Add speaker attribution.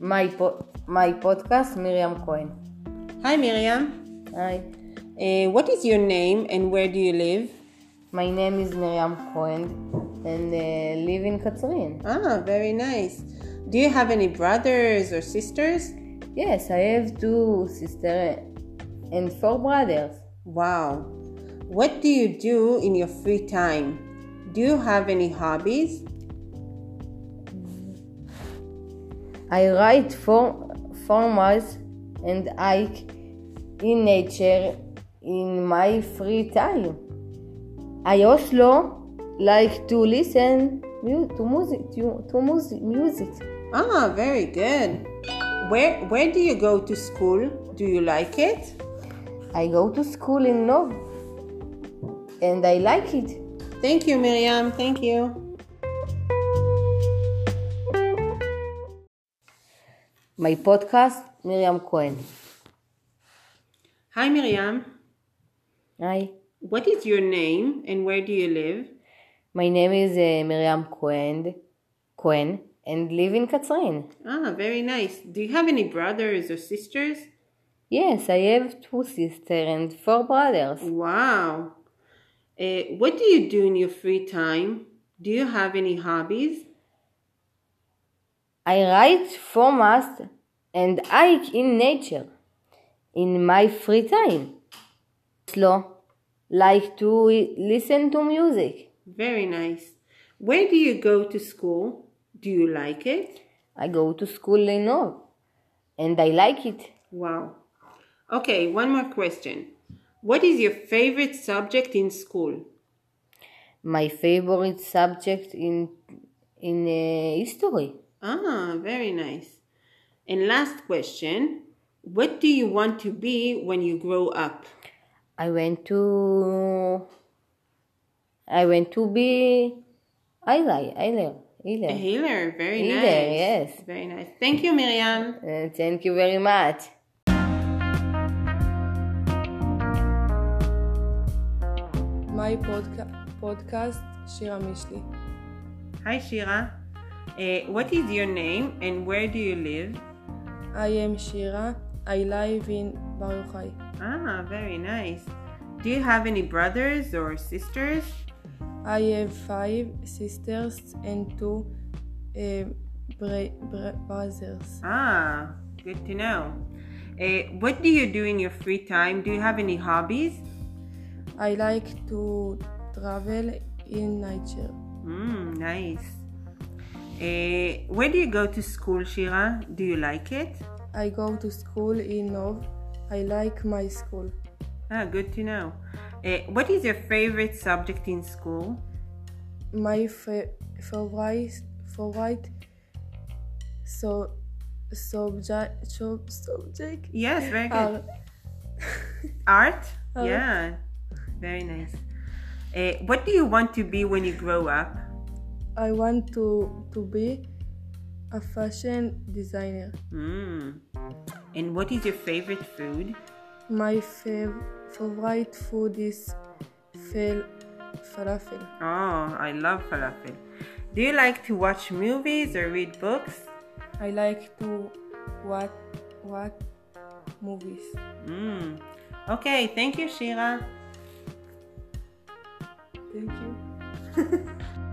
Speaker 1: my, po- my podcast, Miriam Cohen.
Speaker 2: Hi, Miriam.
Speaker 1: Hi,
Speaker 2: Uh, what is your name and where do you live?
Speaker 1: my name is Miriam Cohen and uh, live in Katrin.
Speaker 2: Ah, very nice. Do you have any brothers or sisters?
Speaker 1: Yes, I have two sisters and four brothers.
Speaker 2: Wow. What do you do in your free time? Do you have any hobbies?
Speaker 1: I ride for four miles and hike in nature in my free time. I also like to listen mu- to music to, to music, music.
Speaker 2: Ah, very good. Where where do you go to school? Do you like it?
Speaker 1: I go to school in Nov and I like it.
Speaker 2: Thank you, Miriam. Thank you.
Speaker 1: My podcast Miriam Cohen.
Speaker 2: Hi, Miriam.
Speaker 1: Hi.
Speaker 2: What is your name and where do you live?
Speaker 1: My name is uh, Miriam Cohen Cohen and live in Katrin.
Speaker 2: Ah, very nice. Do you have any brothers or sisters?
Speaker 1: Yes, I have two sisters and four brothers.
Speaker 2: Wow. Uh, what do you do in your free time? Do you have any hobbies?
Speaker 1: I write for mass and hike in nature in my free time. Slow, like to i- listen to music.
Speaker 2: Very nice. Where do you go to school? Do you like it?
Speaker 1: I go to school in Nov and I like it.
Speaker 2: Wow. Okay, one more question. What is your favorite subject in school?
Speaker 1: My favorite subject in in uh, history.
Speaker 2: Ah, very nice. And last question. What do you want to be when you grow up?
Speaker 1: I went to I went to be I like I like
Speaker 2: A healer, very
Speaker 1: Healer,
Speaker 2: nice.
Speaker 1: yes.
Speaker 2: Very nice. Thank you, Miriam.
Speaker 1: Uh, thank you very much.
Speaker 3: my podca- podcast, Shira Mishli.
Speaker 2: Hi, Shira. Uh, what is your name and where do you live?
Speaker 3: I am Shira. I live in Bar Yochai.
Speaker 2: Ah, very nice. Do you have any brothers or sisters?
Speaker 3: I have five sisters and two eh, bra- bra- brothers.
Speaker 2: Ah, good to know. Uh, what do you do in your free time? Do you have any hobbies?
Speaker 3: I like to travel in nature.
Speaker 2: Mm, nice. Uh, where do you go to school, Shira? Do you like it?
Speaker 3: I go to school in Nov. I like my school.
Speaker 2: Ah, good to know. Uh, what is your favorite subject in school?
Speaker 3: My fa- favorite favorite so subject subject
Speaker 2: Yes, very good.
Speaker 3: are
Speaker 2: Art?
Speaker 3: Art.
Speaker 2: Yeah, very nice. Uh, what do you want to be when you grow up?
Speaker 3: I want to to be a fashion designer.
Speaker 2: Mm. And what is your favorite food?
Speaker 3: My fav- favorite food is fel- falafel.
Speaker 2: Oh, I love falafel. Do you like to watch movies or read books?
Speaker 3: I like to watch watch movies.
Speaker 2: Mm. Okay, thank you, Shira.
Speaker 3: Thank you.